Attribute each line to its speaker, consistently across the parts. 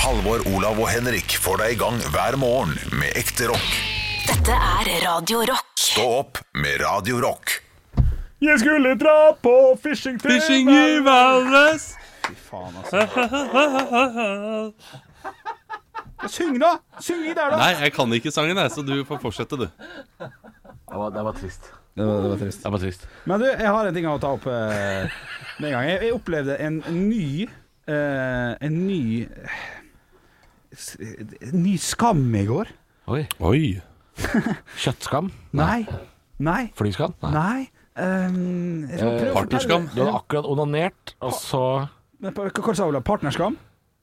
Speaker 1: Halvor, Olav og Henrik får deg i gang hver morgen med ekte rock.
Speaker 2: Dette er Radio Rock.
Speaker 1: Stå opp med Radio Rock.
Speaker 3: Jeg skulle dra på fishing til
Speaker 4: Fishing i
Speaker 5: altså.
Speaker 4: Valdres.
Speaker 5: Faen, altså. Syng, da! Syng i der, da!
Speaker 4: Nei, jeg kan ikke sangen, jeg, så du får fortsette, du.
Speaker 6: Det var, det var trist.
Speaker 5: Det var, det var trist.
Speaker 4: Det var trist.
Speaker 5: Men du, jeg har en ting å ta opp eh, med en gang. Jeg, jeg opplevde en ny eh, En ny s- En ny skam i går.
Speaker 6: Oi.
Speaker 4: Oi.
Speaker 6: Kjøttskam?
Speaker 5: Nei. Nei.
Speaker 6: Flyskam?
Speaker 5: Nei. Um, jeg skal
Speaker 6: Eh,
Speaker 5: prøve å
Speaker 4: partnerskam.
Speaker 5: fortelle-
Speaker 6: Du hadde akkurat onanert, og så
Speaker 5: Men på- Hva hva sa Ola? Partnerskam?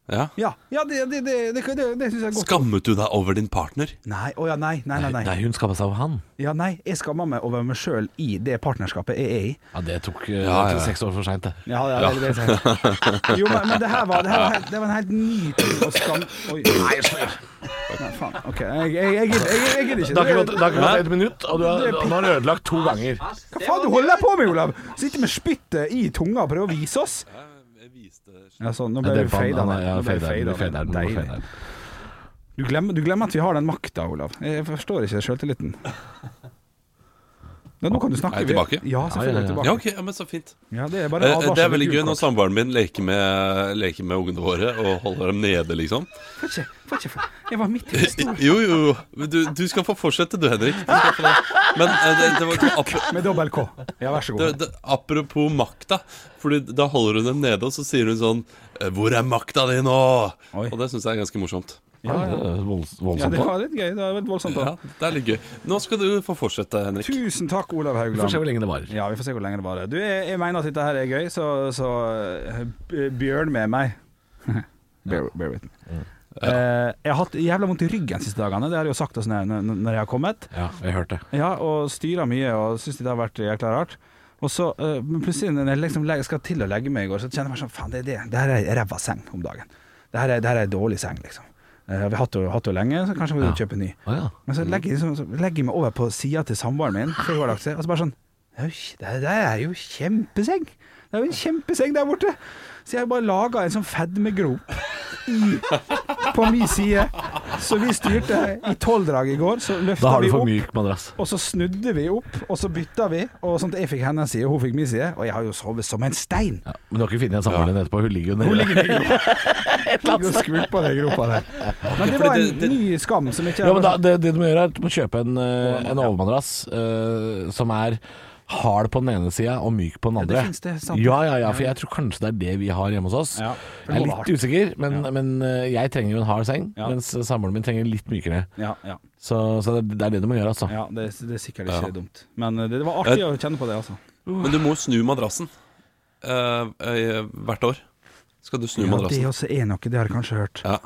Speaker 4: Ja.
Speaker 5: Ja, ja det, det, det, det, det, det syns jeg er godt.
Speaker 4: Skammet du deg over din partner?
Speaker 5: Nei, å ja, nei, nei, nei, nei.
Speaker 6: Nei, hun skamma seg over han.
Speaker 5: Ja, nei. Jeg skammer meg over meg sjøl i det partnerskapet jeg er i.
Speaker 6: Ja, det tok eh,
Speaker 4: Ja, ja.
Speaker 6: til seks år for seint, det.
Speaker 5: Ja, det er veldig sant. Jo, men, men det her var, det her var, helt- det var en helt ny ting å skam... Oi. Nei, faen. OK, jeg, jeg, jeg, gidder- jeg, jeg gidder ikke.
Speaker 6: Det har ikke gått- det har ikke gått
Speaker 4: Hæ?
Speaker 6: et minutt, og du har,
Speaker 5: Det er
Speaker 6: nå har du ødelagt to ganger.
Speaker 5: Hva faen du holder på med, Olav? Sitter med spyttet i tunga og prøver å vise oss. Ja, sånn, nå ble vi fada ned. Nå ble vi fadet ned. Deilig. Du glemmer, du glemmer at vi har den makta, Olav. Jeg forstår ikke selvtilliten. Ja, nå kan du snakke.
Speaker 4: Er jeg tilbake?
Speaker 5: Ja, selvfølgelig. er jeg
Speaker 6: Ja,
Speaker 4: Ja,
Speaker 5: tilbake.
Speaker 4: ok, ja, men så fint.
Speaker 5: Ja, det er bare en
Speaker 4: Eh,
Speaker 5: advarsel.
Speaker 4: Det er veldig
Speaker 5: til
Speaker 4: gøy
Speaker 5: gul
Speaker 4: når
Speaker 5: kort.
Speaker 4: samboeren min leker med, leker med ungene våre og holder dem nede, liksom.
Speaker 5: Får ikke- får ikke- Jeg var midt i historien.
Speaker 4: Jo, jo, jo. Men Du, du skal få fortsette, du, Henrik. Du skal få det. Men eh, det, det var ikke ap
Speaker 5: Med dobbel K. Ja, vær så god.
Speaker 4: det, det, apropos makta. Fordi da holder hun dem nede, og så sier hun sånn eh, 'Hvor er makta di nå?'
Speaker 5: Oi.
Speaker 4: Og det syns jeg er ganske morsomt.
Speaker 6: Ja, det er volds-
Speaker 5: Ja,
Speaker 6: Voldsomt.
Speaker 5: det
Speaker 6: da.
Speaker 5: var litt gøy. Det var veldig voldsomt.
Speaker 4: Ja,
Speaker 5: da
Speaker 4: det er litt gøy. Nå skal du få fortsette, Henrik.
Speaker 5: Tusen takk, Olav
Speaker 6: Vi får se
Speaker 5: Haugland.
Speaker 6: hvor lenge det varer.
Speaker 5: Ja, vi får se hvor lenge det varer. Du, jeg, jeg mener at dette her er gøy, så, så eh, b- Bjørn med meg. bear, bear with me.
Speaker 6: Mm.
Speaker 5: Eh, jeg har hatt jævla vondt i ryggen de siste dagene, det har jeg jo sagt oss når, jeg- når når jeg har kommet.
Speaker 6: Ja, jeg hørte det.
Speaker 5: Ja, og styra mye og syns det har vært jækla rart. Og så, eh, men plutselig når jeg liksom legger, skal til å legge meg i går, så kjenner jeg meg sånn Faen, det er det. Det her er ei ræva seng om dagen. Det her er, det her er ei dårlig seng, liksom. Eh, vi har hatt henne hatt henne lenge, så kanskje vi må
Speaker 6: Ja.
Speaker 5: kjøpe en ny.
Speaker 6: Å ja.
Speaker 5: Men så legger, jeg liksom, så legger jeg meg over på sida til samboeren min, før hun har lagt seg, og så bare sånn «Det er jo kj- Det her- det her er jo kjempeseng! Det er jo en kjempeseng der borte! Så jeg bare laga en sånn fedmegrop i- på min side. Så vi styrte i tolvdrag i går, så
Speaker 6: Da
Speaker 5: løfta
Speaker 6: har
Speaker 5: vi
Speaker 6: du for
Speaker 5: opp.
Speaker 6: myk madrass.
Speaker 5: Og så snudde vi opp, og så bytta vi. Og sånn at jeg fikk hennes side, og hun fikk min side. Og jeg har jo sovet som en stein.
Speaker 6: Ja, men du har ikke funnet igjen samboeren din etterpå? Hun ligger jo nede.
Speaker 5: Ligger og skvulper på den gropa der. Men det
Speaker 4: fordi
Speaker 5: var en
Speaker 4: det- det-
Speaker 5: ny skam som ikke
Speaker 6: Ja, men da, det, det du må gjøre, er at du må kjøpe en, eh, en overmadrass eh, som er hard på den ene sida og myk på den
Speaker 5: Ja, det
Speaker 6: andre.
Speaker 5: finnes det, sant?
Speaker 6: ja, ja, ja, for jeg tror kanskje det er det vi har hjemme hos oss.
Speaker 5: Ja, for
Speaker 6: jeg er
Speaker 5: det må
Speaker 6: litt
Speaker 5: være
Speaker 6: usikker, men, men eh, jeg trenger jo en hard seng,
Speaker 5: Ja.
Speaker 6: mens samboeren min trenger litt mykere.
Speaker 5: Ja, ja,
Speaker 6: Så, så det, det er det du må gjøre, altså.
Speaker 5: ja det, det er sikkert ikke dumt. Men eh, det, det var artig å kjenne på det, altså.
Speaker 4: Men du må snu madrassen eh, eh, hvert år. Skal du snu
Speaker 5: Ja, det
Speaker 4: madrassen.
Speaker 5: også er noe, det har jeg kanskje hørt.
Speaker 4: Ja.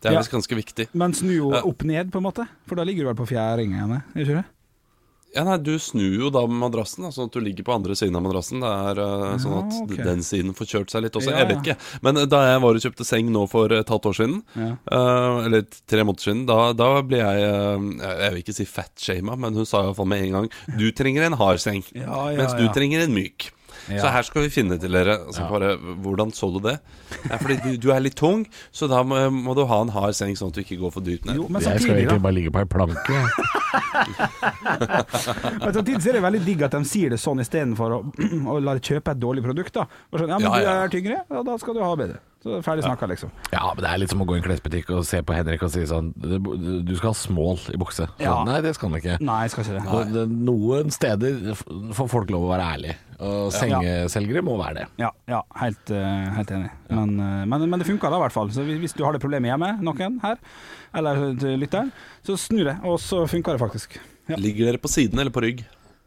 Speaker 4: Det er
Speaker 5: Ja.
Speaker 4: visst ganske viktig.
Speaker 5: Men snu jo
Speaker 4: Ja.
Speaker 5: opp ned, på en måte. For da ligger du vel på fjæringene, gjør ikke det?
Speaker 4: Ja, nei, du snur jo da madrassen, da, sånn at du ligger på andre siden av madrassen. Det er eh, Sånn at
Speaker 5: Ja, Ah, ok.
Speaker 4: den siden får kjørt seg litt også.
Speaker 5: Ja,
Speaker 4: Jeg vet
Speaker 5: ja.
Speaker 4: ikke. Men eh, da jeg var og kjøpte seng nå for et halvt år siden,
Speaker 5: Ja.
Speaker 4: eh, eller tre måneder siden, da, da ble jeg eh, Jeg vil ikke si fatshama, men hun sa iallfall med en gang Du trenger en hard seng,
Speaker 5: Ja, ja,
Speaker 4: mens du
Speaker 5: ja.
Speaker 4: trenger en myk. Så her skal vi finne til dere. Altså, bare, hvordan så du det? Ja, fordi du, du er litt tung, så da må, må du ha en hard seng, sånn at du ikke går for dypt ned.
Speaker 5: Jo, men
Speaker 6: Jeg skal
Speaker 5: samtidig, da.
Speaker 6: egentlig bare ligge på ei planke.
Speaker 5: Men samtidig så er det veldig digg at de sier det sånn istedenfor å, å la deg kjøpe et dårlig produkt. da Bare sånn, ja, men
Speaker 4: Ja, ja.
Speaker 5: du er tyngre, ja, da skal du ha bedre. Så ferdig snakka, liksom.
Speaker 6: Ja, men det er litt som å gå i en klesbutikk og se på Henrik og si sånn Du skal ha small i bukse. Så,
Speaker 5: Ja.
Speaker 6: Nei, det skal han ikke.
Speaker 5: Nei, jeg skal ikke det.
Speaker 6: Og det- Noen steder f- får folk lov å være ærlige, og sengeselgere må være det.
Speaker 5: Ja, ja helt, eh, helt enig. Men, eh, men, men det funka da, i hvert fall. Så hvis du har det problemet hjemme, noen her, eller til lytteren, så snu det, og så funka det faktisk. Ja.
Speaker 4: Ligger dere på siden eller på rygg?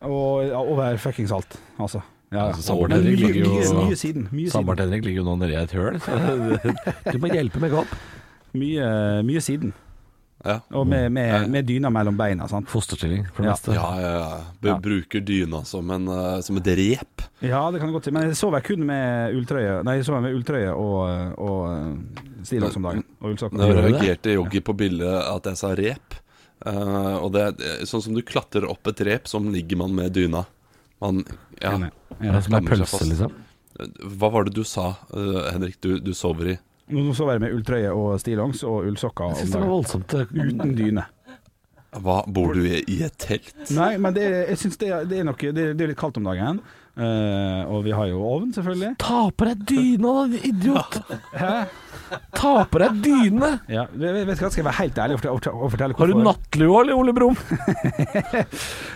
Speaker 5: Og ja, over fuckings alt, altså. Ja, ja.
Speaker 6: Altså, samboeren
Speaker 5: Men
Speaker 6: Henrik
Speaker 5: mye,
Speaker 6: ligger
Speaker 5: mye,
Speaker 6: jo-
Speaker 5: mye siden. Mye
Speaker 6: Samboeren
Speaker 5: siden.
Speaker 6: til Henrik ligger jo nå nedi et høl. så Du må hjelpe meg opp.
Speaker 5: Mye, mye siden.
Speaker 4: Ja.
Speaker 5: Og med, med, med dyna mellom beina, sant.
Speaker 6: Fosterstilling for det
Speaker 5: Ja.
Speaker 6: meste.
Speaker 4: Ja, ja, ja. B
Speaker 5: Ja.
Speaker 4: Bruker dyna som, en, eh, som et rep.
Speaker 5: Ja, det kan jeg godt si. Men jeg sover kun med ulltrøye Nei, jeg sover med ulltrøye og, og eh, stillongs om dagen. Og
Speaker 4: Da
Speaker 5: ullsokker.
Speaker 6: Gjør du det?
Speaker 4: reagerte Joggi på bildet at jeg sa rep. Eh, og det er sånn som du klatrer opp et rep, sånn ligger man med dyna. Man, ja.
Speaker 5: Enig.
Speaker 6: Ja, som
Speaker 4: Skammer
Speaker 6: ei
Speaker 4: seg
Speaker 6: pølse,
Speaker 4: fast.
Speaker 6: liksom.
Speaker 4: Hva var det eh, du sa, eh, Henrik? Du, du sover i
Speaker 5: Nå sover jeg med ulltrøye og stillongs og ullsokker
Speaker 6: Jeg
Speaker 5: om
Speaker 6: syns det var
Speaker 5: dagen.
Speaker 6: voldsomt. eh,
Speaker 5: Uten dyne.
Speaker 4: Hva, bor du i, i et telt?
Speaker 5: Nei, men det, er- jeg synes det, er- det er nok det, det er litt kaldt om dagen. Eh, og vi har jo ovn, selvfølgelig.
Speaker 6: Ta på deg dyna, da, din idiot! Ta på deg dyne!
Speaker 5: Ja, vet vet du hva, Skal jeg være helt ærlig og fortelle, og fortelle- og fortelle
Speaker 6: Har du nattlua, eller, Ole Brumm?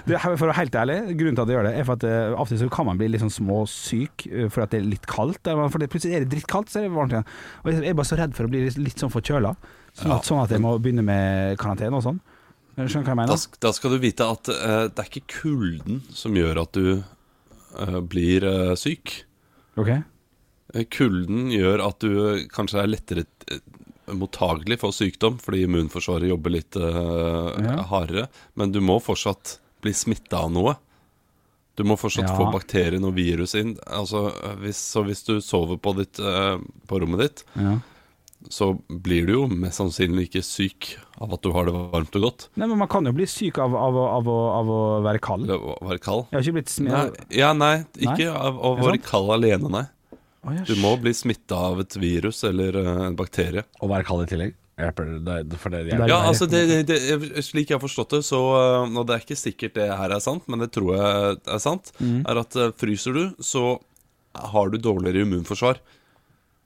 Speaker 5: Du, her- for å være helt ærlig, grunnen til at jeg gjør det, er for at eh, av og til så kan man bli litt sånn småsyk eh, fordi at det er litt kaldt. eller man- Fordi plutselig er det drittkaldt, så er det varmt igjen. Og jeg jeg er bare så redd for å bli litt, litt sånn forkjøla. Sånn at, sånn at jeg må begynne med karantene og sånn. Skjønner du hva jeg
Speaker 4: Da,
Speaker 5: mener?
Speaker 4: sk- da skal du vite at eh, det er ikke kulden som gjør at du eh, blir eh, syk.
Speaker 5: Ok
Speaker 4: Eh, Kulden gjør at du kanskje er lettere eh, mottagelig for sykdom, fordi immunforsvaret jobber litt eh, hardere. Men du må fortsatt bli smitta av noe. Du må fortsatt
Speaker 5: Ja.
Speaker 4: få bakterien og virus inn. Altså, eh, hvis, så hvis du sover på, ditt, eh, på rommet ditt,
Speaker 5: Ja.
Speaker 4: så blir du jo mest sannsynlig ikke syk av at du har det varmt og godt.
Speaker 5: Nei, men man kan jo bli syk av, av, å- av, å- av å være kald.
Speaker 4: Eller å være kald.
Speaker 5: Jeg har ikke blitt
Speaker 4: Nei,
Speaker 5: smitt
Speaker 4: ja, nei,
Speaker 5: Nei?
Speaker 4: ikke av av å
Speaker 5: Er
Speaker 4: være
Speaker 5: det
Speaker 4: kald alene, nei.
Speaker 5: Å, ja,
Speaker 4: Du må bli smitta av et virus eller eh, en bakterie.
Speaker 6: Å være kald i tillegg. Hjelper det for det?
Speaker 5: Det er
Speaker 4: Ja,
Speaker 5: verre.
Speaker 4: altså det, det, det, Slik jeg har forstått det, så øh, Og det er ikke sikkert det her er sant, men det tror jeg er sant.
Speaker 5: Mhm.
Speaker 4: Er at øh, fryser du, så har du dårligere immunforsvar.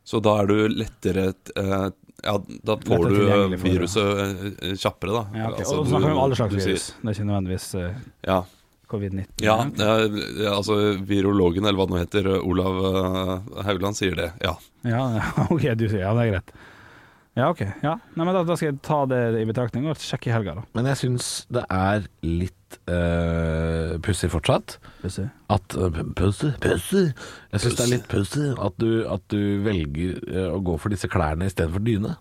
Speaker 4: Så da er du lettere øh, Ja, da får
Speaker 5: Lettere
Speaker 4: du øh,
Speaker 5: tilgjengelig for-
Speaker 4: viruset øh, øh, kjappere, da.
Speaker 5: Ja, ok.
Speaker 4: Altså,
Speaker 5: og så
Speaker 4: du-
Speaker 5: snakker vi om alle slags
Speaker 4: du sier-
Speaker 5: virus. Mhm. Det er ikke nødvendigvis eh,
Speaker 4: Ja.
Speaker 5: covid-19.
Speaker 4: Ja, øh, ja, altså virologen, eller hva det nå heter, øh, Olav øh, Haugland, sier det. Ja.
Speaker 5: Ja, ok, du sier ja, det er greit. Ja, ok. Ja. Nei, men da, da skal jeg ta det i betraktning og sjekke i helga, da.
Speaker 6: Men jeg syns det er litt uh, pussig fortsatt.
Speaker 5: Hvis jeg-
Speaker 6: At eh, Pussig, pussig. Jeg syns det er litt pussig at, du- at du velger eh, å gå for disse klærne istedenfor dyne.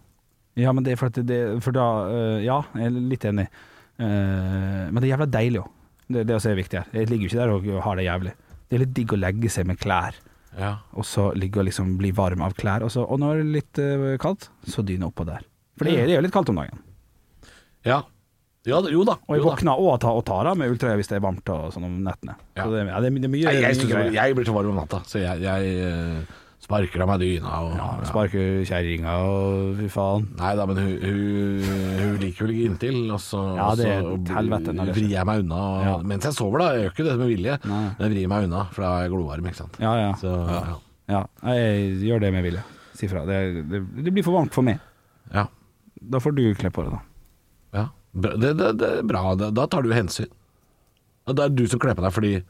Speaker 5: Ja, men det er for, at det, for da øh, Ja, jeg er litt enig. Eh, men det er jævla deilig òg. Det, det også er viktig her. Jeg ligger jo ikke der og har det jævlig. Det er litt digg å legge seg med klær, og så ligge og liksom bli varm av klær. Og, så, og når det er litt øh, kaldt, så dyne oppå der. For det er det er jo litt kaldt om dagen.
Speaker 6: Ja. ja jo da.
Speaker 5: Og jeg
Speaker 6: jo da.
Speaker 5: våkner òg og tar, og tar av med ulltrøye hvis det er varmt og sånn om nettene.
Speaker 6: Ja.
Speaker 5: Så det, ja, det, er- det er mye,
Speaker 6: Nei, jeg,
Speaker 5: mye
Speaker 6: synes,
Speaker 5: greier.
Speaker 6: jeg blir så varm om natta, så jeg, jeg eh, sparker av meg dyna og
Speaker 5: Ja,
Speaker 6: ja.
Speaker 5: Sparker kjerringa og fy faen.
Speaker 6: Nei da, men hun, hun, hun liker jo å ligge inntil, og så,
Speaker 5: Ja, det er
Speaker 6: og så
Speaker 5: et helvete når det skjer.
Speaker 6: vrir jeg meg unna. Og,
Speaker 5: Ja.
Speaker 6: Mens jeg sover, da. Jeg gjør ikke det med vilje,
Speaker 5: Nei.
Speaker 6: men jeg vrir meg unna, for da er jeg glovarm, ikke sant.
Speaker 5: Ja, ja.
Speaker 6: Så, ja.
Speaker 5: ja. Jeg gjør det med vilje. Si fra. Det, det, det blir for varmt for meg.
Speaker 6: Ja.
Speaker 5: Da får du kle på det, da.
Speaker 6: ja. Bra- Det, det, det er bra. Da- Da tar du hensyn. Og Det er du som kler på deg fordi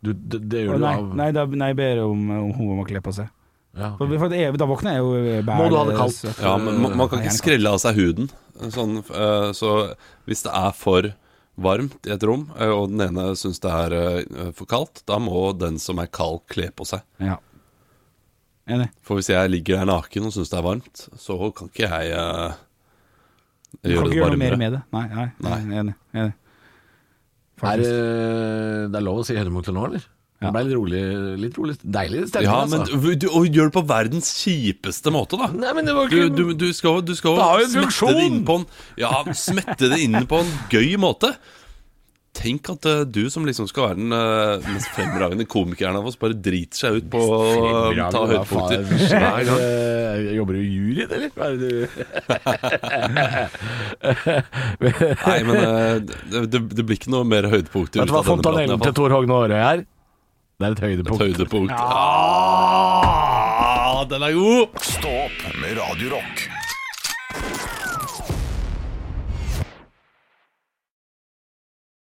Speaker 6: du, det, det
Speaker 5: Å,
Speaker 6: gjør du
Speaker 5: nei,
Speaker 6: av
Speaker 5: nei, da, nei, jeg ber om, om hun om å kle på seg.
Speaker 6: Ja.
Speaker 5: For, for at jeg, da våkner jeg jo eh, bæl,
Speaker 6: Må du ha det kaldt?
Speaker 5: svett.
Speaker 4: Ja, men man, man kan
Speaker 5: Eh, Nei,
Speaker 4: ikke
Speaker 5: gjerne
Speaker 4: skrelle av seg huden. Sånn, eh, så hvis det er for varmt i et rom, eh, og den ene syns det er eh, for kaldt, da må den som er kald, kle på seg.
Speaker 5: Ja. Enig.
Speaker 4: For hvis jeg ligger der naken og syns det er varmt, så kan ikke jeg eh,
Speaker 5: Du kan
Speaker 4: gjøre
Speaker 5: ikke
Speaker 4: det
Speaker 5: gjøre noe mer med
Speaker 4: varmere.
Speaker 5: det. Nei, nei, nei. enig. enig.
Speaker 6: er,
Speaker 5: Faktisk.
Speaker 6: det- det er lov å si høydepunkter nå, eller?
Speaker 5: Ja.
Speaker 6: Det ble litt rolig, litt rolig deilig stemning,
Speaker 4: Ja, men
Speaker 6: altså.
Speaker 4: du, og gjør det på verdens kjipeste måte, da.
Speaker 6: Nei, men det var
Speaker 4: Du,
Speaker 6: ikke
Speaker 4: du, du skal jo- du skal
Speaker 6: Det har jo
Speaker 4: jo
Speaker 6: en
Speaker 4: smette det inn
Speaker 6: funksjon!
Speaker 4: på en Ja, smette det inn på en gøy måte. Tenk at eh, du som liksom skal være den eh, mest fremragende komikeren av oss, bare driter seg ut på å eh, ta
Speaker 6: Hva faen,
Speaker 4: høydepunkter
Speaker 6: skjer?
Speaker 4: hver gang.
Speaker 6: Eh, Jobber du i juryen, eller? Hva er det du
Speaker 4: Nei, men eh, det, det, det blir ikke noe mer høydepunkter
Speaker 6: Vet
Speaker 4: ut
Speaker 6: du
Speaker 4: av
Speaker 6: hva
Speaker 4: denne praten.
Speaker 6: fontanellen til
Speaker 4: her,
Speaker 6: Tor Hogne Aarøy er? Det er et
Speaker 4: bare.
Speaker 6: høydepunkt.
Speaker 4: Høydepunkt. Ah, den er god!
Speaker 1: Stå opp med Radio Rock.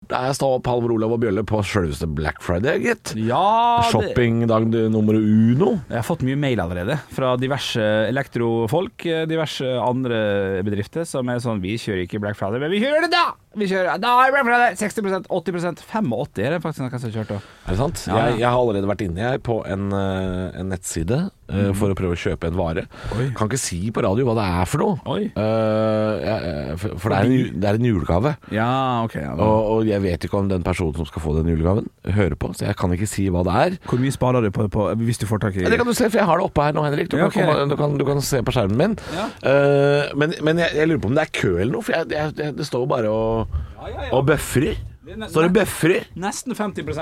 Speaker 6: Det er stå opp Halvor Olav og Bjølle på sjølveste Black Friday, gitt.
Speaker 5: Ja, det,
Speaker 6: Shoppingdag nummer uno.
Speaker 5: Jeg har fått mye mail allerede fra diverse elektrofolk, eh, diverse andre bedrifter som er sånn Vi kjører ikke Black Friday, men vi kjører det da! Vi kjører da er Black Friday! 60 80 85 er det faktisk noen som har kjørt òg.
Speaker 6: Er det sant?
Speaker 5: Ja, ja.
Speaker 6: Jeg, jeg har allerede vært inne jeg, på en, eh, en nettside eh, for å prøve å kjøpe en vare.
Speaker 5: Mhm. Oi.
Speaker 6: Kan ikke si på radio hva det er for noe.
Speaker 5: Oi.
Speaker 6: Eh, jeg- eh, for for det, er en, ju- det er en julegave.
Speaker 5: Ja, ok.
Speaker 6: Og, og jeg vet ikke om den personen som skal få den julegaven, hører på, så jeg kan ikke si hva det er.
Speaker 5: Hvor mye sparer du på, på hvis du får tak i
Speaker 6: Ja, Det kan du se, for jeg har det oppe her nå, Henrik. Du,
Speaker 5: Ja,
Speaker 6: kan,
Speaker 5: ok.
Speaker 6: komme, du, kan, du kan se på skjermen min. Eh, men men jeg, jeg lurer på om det er kø eller noe, for jeg, jeg, det står jo bare og, og bøfrer.
Speaker 5: er ne-
Speaker 6: Står det bøfrer?
Speaker 5: Nesten 50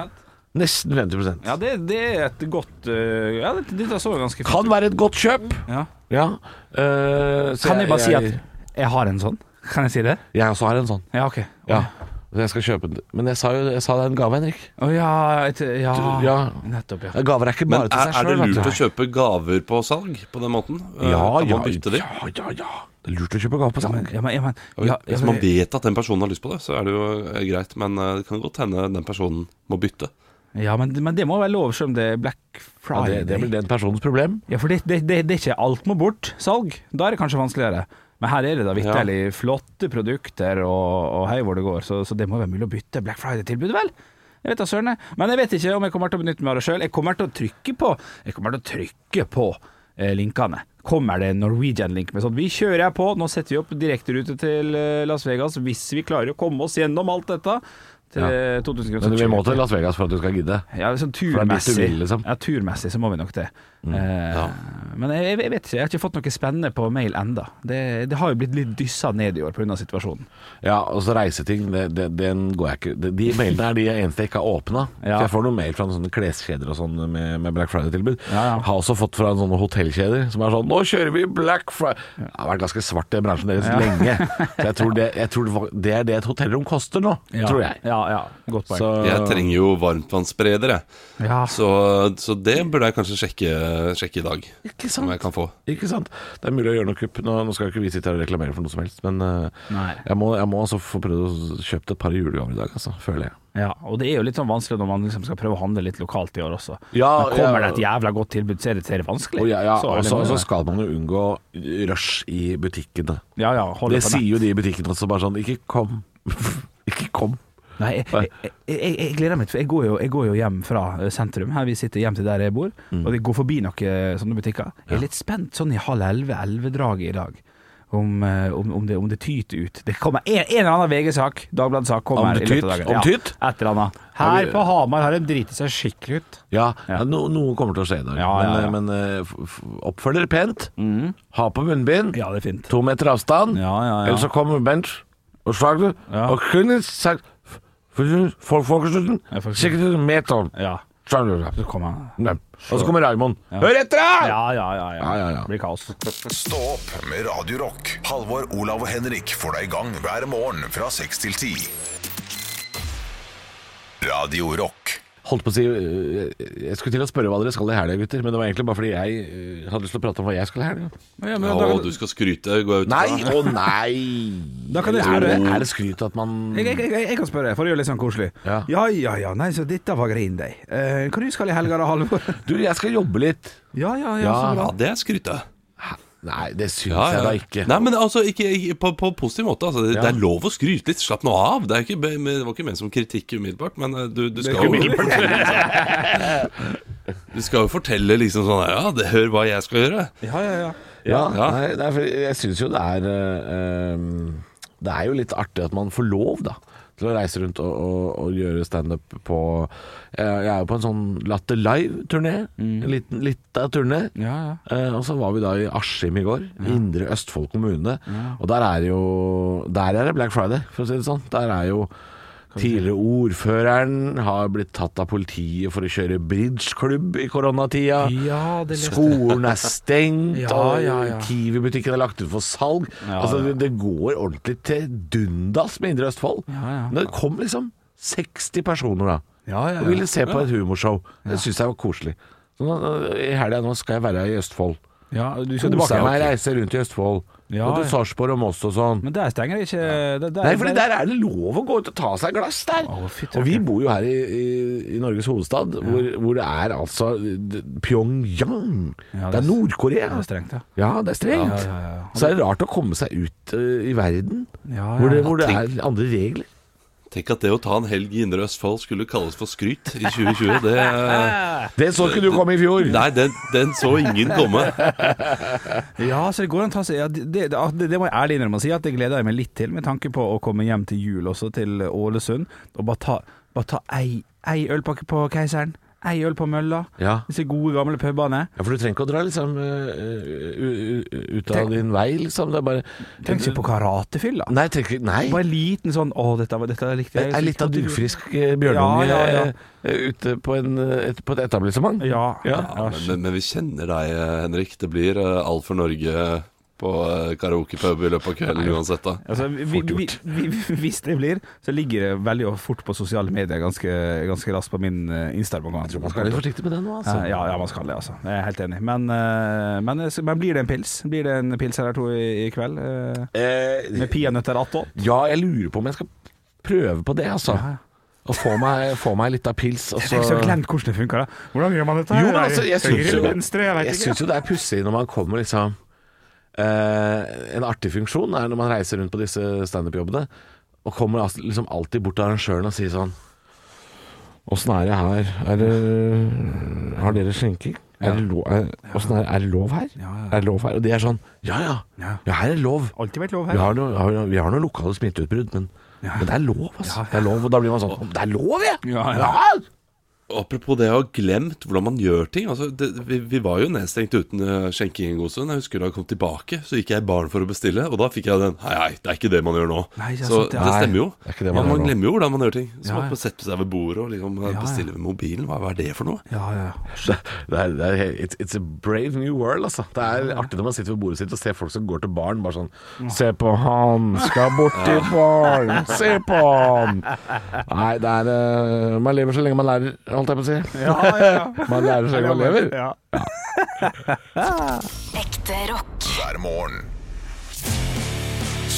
Speaker 6: Nesten 50
Speaker 5: Ja, det, det er et godt eh, Ja, dette, dette så jo ganske fint
Speaker 6: Kan
Speaker 5: ut.
Speaker 6: være et godt kjøp.
Speaker 5: Ja.
Speaker 6: Ja. eh, så
Speaker 5: Kan jeg bare si at
Speaker 6: jeg,
Speaker 5: jeg har en sånn? Kan jeg si det?
Speaker 6: jeg også har en sånn.
Speaker 5: Ja, OK.
Speaker 6: Ja. Så Jeg skal kjøpe den. Men jeg sa jo jeg sa det er en gave, Henrik.
Speaker 5: Å ja, et, ja.
Speaker 6: Du- ja.
Speaker 5: Nettopp, ja.
Speaker 6: Gaver er ikke
Speaker 4: Men
Speaker 6: bare til
Speaker 4: er,
Speaker 6: seg
Speaker 4: er det
Speaker 6: sjøl.
Speaker 4: lurt å kjøpe gaver på salg på den måten? Eh,
Speaker 6: Ja,
Speaker 4: kan
Speaker 6: ja,
Speaker 4: man bytte de?
Speaker 6: ja, ja, ja. Det er lurt å kjøpe gave på salg.
Speaker 5: Ja, men, ja, men,
Speaker 4: Og
Speaker 5: ja, ja,
Speaker 4: Hvis man
Speaker 5: men,
Speaker 4: vet at den personen har lyst på det, så er det jo eh, greit. Men eh, det kan godt hende den personen må bytte.
Speaker 5: ja men, men det må være lov, selv om det er black
Speaker 6: Ja,
Speaker 5: friday.
Speaker 6: det, det blir den personens problem.
Speaker 5: Ja, for det, det, det, det er ikke alt må bort. Salg. Da er det kanskje vanskeligere. Men her er det da vitterlig flotte produkter og, og hei hvor det går, så, så det må være mulig å bytte Black Friday-tilbudet, vel? Jeg vet da søren, jeg. Men jeg vet ikke om jeg kommer til å benytte meg av det sjøl. Jeg kommer til å trykke på Jeg kommer til å trykke på eh, linkene. Kommer det en Norwegian-link med sånn Vi kjører jeg på. Nå setter vi opp direkterute til eh, Las Vegas hvis vi klarer å komme oss gjennom alt dette. Til
Speaker 6: Ja.
Speaker 5: eh, 2000 kroner.
Speaker 6: Men
Speaker 5: Så
Speaker 6: vi må
Speaker 5: kjører jeg
Speaker 6: til
Speaker 5: på.
Speaker 6: Las Vegas for at du skal gidde.
Speaker 5: Ja, sånn
Speaker 6: det er dit
Speaker 5: turmessig.
Speaker 6: du vil, liksom. Mm.
Speaker 5: Ja, turmessig så må vi nok det. Eh, Men jeg, jeg vet ikke, jeg har ikke fått noe spennende på mail enda. Det, det har jo blitt litt dyssa ned i år pga. situasjonen.
Speaker 6: Ja, og så reiseting, det, det, den går jeg ikke De, de mailene er de eneste jeg ikke har åpna.
Speaker 5: Ja.
Speaker 6: For Jeg får noen mail fra sånne kleskjeder og sånn med, med Black Friday-tilbud.
Speaker 5: Ja, ja.
Speaker 6: Har også fått fra sånne hotellkjeder som er sånn 'Nå kjører vi Black Friday'. Det har vært ganske svart i bransjen deres lenge. Så jeg tror, det, jeg tror det var- det er det et hotellrom koster nå, tror jeg.
Speaker 5: Ja, ja, godt poeng.
Speaker 6: Så,
Speaker 4: Jeg trenger jo varmtvannsspreder, jeg.
Speaker 5: ja.
Speaker 4: Så, så det burde jeg kanskje sjekke, sjekke i dag.
Speaker 6: ikke
Speaker 4: Om jeg
Speaker 6: sant?
Speaker 4: kan få.
Speaker 6: Ikke sant? Det er mulig å gjøre noe kupp. Nå, nå skal jo ikke vi sitte her og reklamere for noe som helst, men eh,
Speaker 5: Nei.
Speaker 6: jeg må, jeg må altså få prøvd å kjøpe et par julegaver i dag, altså. Føler jeg.
Speaker 5: ja, og det er jo litt sånn vanskelig når man liksom skal prøve å handle litt lokalt i år også.
Speaker 6: Ja,
Speaker 5: Men kommer
Speaker 6: ja.
Speaker 5: det et jævla godt tilbud, så er det, så er det vanskelig.
Speaker 6: Og ja, ja,
Speaker 5: Så er det
Speaker 6: også,
Speaker 5: noe-
Speaker 6: så skal man jo unngå rush i butikkene.
Speaker 5: ja, ja, holde
Speaker 6: Det
Speaker 5: på
Speaker 6: sier
Speaker 5: nett.
Speaker 6: jo de i butikkene også, bare sånn Ikke kom. ikke kom.
Speaker 5: Nei, jeg, jeg, jeg, jeg, jeg gleder meg, for jeg går, jo, jeg går jo hjem fra eh, sentrum, her vi sitter hjem til der jeg bor,
Speaker 6: Mm.
Speaker 5: og jeg går forbi noen eh, sånne butikker. Jeg er litt spent sånn i halv elleve-elvedraget i dag. Om, eh, om, om, det, om det tyter ut. Det kommer en, en eller annen VG-sak, Dagbladet-sak,
Speaker 6: Om
Speaker 5: kommer
Speaker 6: det
Speaker 5: i løpet av
Speaker 6: tyt?
Speaker 5: dagen.
Speaker 6: Om tyt?
Speaker 5: Ja, et eller annet.
Speaker 6: Har
Speaker 5: Her
Speaker 6: vi-
Speaker 5: på Hamar har de driti seg skikkelig ut.
Speaker 6: Ja,
Speaker 5: Ja.
Speaker 6: no, noe kommer til å skje i dag.
Speaker 5: Ja, ja, ja.
Speaker 6: Men, eh, men eh, f- f- oppfør dere pent. Ha på munnbind.
Speaker 5: Ja, det er fint.
Speaker 6: To meter avstand.
Speaker 5: Ja, ja, ja.
Speaker 6: Ellers så kommer bench og slag du.
Speaker 5: Ja.
Speaker 6: Og kunne sagt Folkesluten
Speaker 5: Ja, folkesluten.
Speaker 6: sikkert en meter.
Speaker 5: Ja,
Speaker 6: Slag du.
Speaker 5: så kommer han.
Speaker 6: Nei. Og så kommer Raymond. Hør etter, da!
Speaker 5: Ja, ja, ja. ja.
Speaker 6: Ja, ja, ja.
Speaker 5: Det blir kaos.
Speaker 1: Stå opp med Radio Rock. Halvor, Olav og Henrik får deg i gang hver morgen fra 6 til 10. Radio Rock.
Speaker 6: holdt på å si øh, Jeg skulle til å spørre hva dere skal i helga, gutter. Men det var egentlig bare fordi jeg øh, hadde lyst til å prate om hva jeg skal i helga.
Speaker 5: Ja, men
Speaker 4: Ja,
Speaker 5: da-
Speaker 4: og du skal skryte, går jeg ut
Speaker 6: Nei!
Speaker 4: fra.
Speaker 6: Å nei!
Speaker 5: Da kan jeg
Speaker 6: er,
Speaker 5: spørre.
Speaker 6: det, er det skryt at man
Speaker 5: Jeg, jeg, jeg, jeg kan spørre, for å gjøre det litt sånn koselig.
Speaker 6: Ja.
Speaker 5: ja, ja, ja, nei, så dette var grin deg. Eh, hva du skal i helga da, Halvor?
Speaker 6: Du, jeg skal jobbe litt.
Speaker 5: ja, ja, ja,
Speaker 6: Ja.
Speaker 5: så bra.
Speaker 4: Ja, det er skryte.
Speaker 6: Hæ? Nei, det syns
Speaker 4: Ja,
Speaker 6: jeg
Speaker 4: ja.
Speaker 6: da ikke.
Speaker 4: Nei, men altså, ikke, ikke, på, på positiv måte. Altså, det,
Speaker 6: Ja.
Speaker 4: det er lov å skryte litt. Slapp nå av. Det, er ikke, be- men det var ikke ment som kritikk umiddelbart, men eh, du, du skal jo Du skal jo fortelle liksom sånn Ja, det, hør hva jeg skal gjøre.
Speaker 5: Ja, ja, ja.
Speaker 6: Ja,
Speaker 4: Ja.
Speaker 6: Nei, nei, for jeg syns jo det er øh, øh, Det er jo litt artig at man får lov, da. Til å reise rundt og, og, og gjøre standup på Jeg jeg er jo på en sånn Latter Live-turné. En liten lita turné.
Speaker 5: ja, ja.
Speaker 6: Eh, og så var vi da i Askim i går, Indre Østfold kommune. Og der er jo Der er det Black Friday, for å si det sånn. Der er jo tidligere ordføreren har blitt tatt av politiet for å kjøre bridgeklubb i koronatida.
Speaker 5: Ja, det leste jeg.
Speaker 6: Skolen er stengt,
Speaker 5: Ja,
Speaker 6: og
Speaker 5: ja, ja.
Speaker 6: Kiwi-butikken er lagt ut for salg.
Speaker 5: Ja,
Speaker 6: altså,
Speaker 5: ja.
Speaker 6: Det, det går ordentlig til dundas med Indre Østfold.
Speaker 5: ja.
Speaker 6: Men det kom liksom 60 personer da,
Speaker 5: Ja, ja,
Speaker 6: og liksom- ville se på et humorshow. Det syns jeg var koselig. Så nå, I helga nå skal jeg være i Østfold.
Speaker 5: ja, du skal tilbake.
Speaker 6: Kosa meg,
Speaker 5: ja, ok.
Speaker 6: reise rundt i Østfold.
Speaker 5: Ja,
Speaker 6: og
Speaker 5: ja.
Speaker 6: til Sarpsborg og Moss og sånn.
Speaker 5: Men der stenger det ikke der, der,
Speaker 6: Nei, for der er det lov å gå ut og ta seg et glass der.
Speaker 5: Å, fy,
Speaker 6: og vi bor jo her i, i, i Norges hovedstad, hvor, hvor det er altså d- Pyongyang.
Speaker 5: Ja,
Speaker 6: det
Speaker 5: det
Speaker 6: er
Speaker 5: er-
Speaker 6: Nord-Korea.
Speaker 5: det er strengt, ja.
Speaker 6: Ja, det er strengt.
Speaker 5: Ja, ja, ja, ja.
Speaker 6: Så er det rart å komme seg ut eh, i verden,
Speaker 5: Ja,
Speaker 6: hvor, det,
Speaker 5: ja.
Speaker 6: hvor det
Speaker 4: Tenk-
Speaker 6: er andre regler.
Speaker 4: Tenk at det å ta en helg i Indre Østfold skulle kalles for skryt i 2020. Det eh,
Speaker 6: Det så ikke du komme i fjor.
Speaker 4: Nei, den, den så ingen komme.
Speaker 5: Ja, så det går an å ta seg ja, det, det, det, det må jeg ærlig innrømme å si, at det gleder jeg meg litt til, med tanke på å komme hjem til jul også, til Ålesund, og bare ta, bare ta ei, ei ølpakke på Keiseren. Ei øl på mølla.
Speaker 6: Ja.
Speaker 5: Disse gode, gamle pubene.
Speaker 6: Ja, for du trenger ikke å dra liksom eh, u- u- ut av
Speaker 5: Tenk-
Speaker 6: din vei, liksom. Det er bare
Speaker 5: Tenk ikke på karatefylla.
Speaker 6: Nei, tenk ikke Nei.
Speaker 5: Bare en liten sånn Å, dette, var- dette likte
Speaker 6: Det
Speaker 5: jeg.
Speaker 6: er litt av dufrisk eh, bjørnunge
Speaker 5: Ja, ja, ja.
Speaker 6: eh, ute på, en, eh, et, på et etablissement.
Speaker 5: Ja.
Speaker 6: Ja.
Speaker 4: Ja, men, men, men vi kjenner deg, eh, Henrik. Det blir eh, alt for Norge på eh, karaokepub i løpet av kvelden uansett, da.
Speaker 5: Altså, vi, vi, vi, vi, hvis det blir, så ligger det veldig fort på sosiale medier ganske, ganske raskt på min eh, Instagram. Jeg tror
Speaker 6: Man skal være litt forsiktig med det nå, altså.
Speaker 5: Ja, ja, man skal det, altså. Jeg er helt enig. Men, eh, men, men blir det en pils? Blir det en pils eller to i, i kveld? eh,
Speaker 6: Eh,
Speaker 5: Med peanøtter attåt?
Speaker 6: ja, jeg lurer på om jeg skal prøve på det, altså. Og få meg, få meg litt av pils. Og så
Speaker 5: Jeg har glemt hvordan det funker. da. Hvordan gjør man dette?
Speaker 6: Jo,
Speaker 5: her?
Speaker 6: men altså, jeg
Speaker 5: Høyre,
Speaker 6: syns jo,
Speaker 5: venstre, jeg vet
Speaker 6: jeg
Speaker 5: ikke.
Speaker 6: syns jo det er pussig når man kommer liksom eh, En artig funksjon er når man reiser rundt på disse standup-jobbene, og kommer altså liksom alltid bort til arrangøren og sier sånn Åssen er det her? Er det, har dere skjenking? Er det lov, er, åssen er, det- er det lov her? Er det lov her? Og de er sånn Ja ja,
Speaker 5: Ja.
Speaker 6: ja her er det lov.
Speaker 5: Alltid vært lov
Speaker 6: Vi
Speaker 5: her.
Speaker 6: har noen har, vi har noe lokale smitteutbrudd, men, men det er lov, altså. Det er lov, og da blir man sånn Det er lov, ja!
Speaker 5: Ja, ja.
Speaker 4: Apropos det å ha glemt hvordan man gjør ting. Altså, det, vi, vi var jo nedstengt uten eh, skjenking en god stund. Jeg husker da jeg kom tilbake, så gikk jeg i baren for å bestille, og da fikk jeg den Hei, hei, det er ikke det man gjør nå.
Speaker 5: Nei, ikke
Speaker 4: så
Speaker 5: sant,
Speaker 4: det
Speaker 5: ja. Nei,
Speaker 4: stemmer jo.
Speaker 6: det er ikke det man
Speaker 4: man,
Speaker 6: gjør nå.
Speaker 4: glemmer jo hvordan man gjør ting. Så
Speaker 5: Ja,
Speaker 4: man
Speaker 5: ja.
Speaker 4: må sette seg ved bordet og liksom eh,
Speaker 5: ja.
Speaker 4: bestille med mobilen. Hva hva er det for noe?
Speaker 5: Ja, ja.
Speaker 6: Det, det er, det er, it's, it's a brave new world, altså. Det er artig når man sitter ved bordet sitt og ser folk som går til baren, bare sånn Se på han, skal bort til baren, se på han! Nei, det er eh, Man lever så lenge man lærer, holdt jeg på å si.
Speaker 5: Ja, ja, ja.
Speaker 6: Man lærer så lenge man lever.
Speaker 5: Ja.
Speaker 2: Ekte rock.
Speaker 1: hver morgen.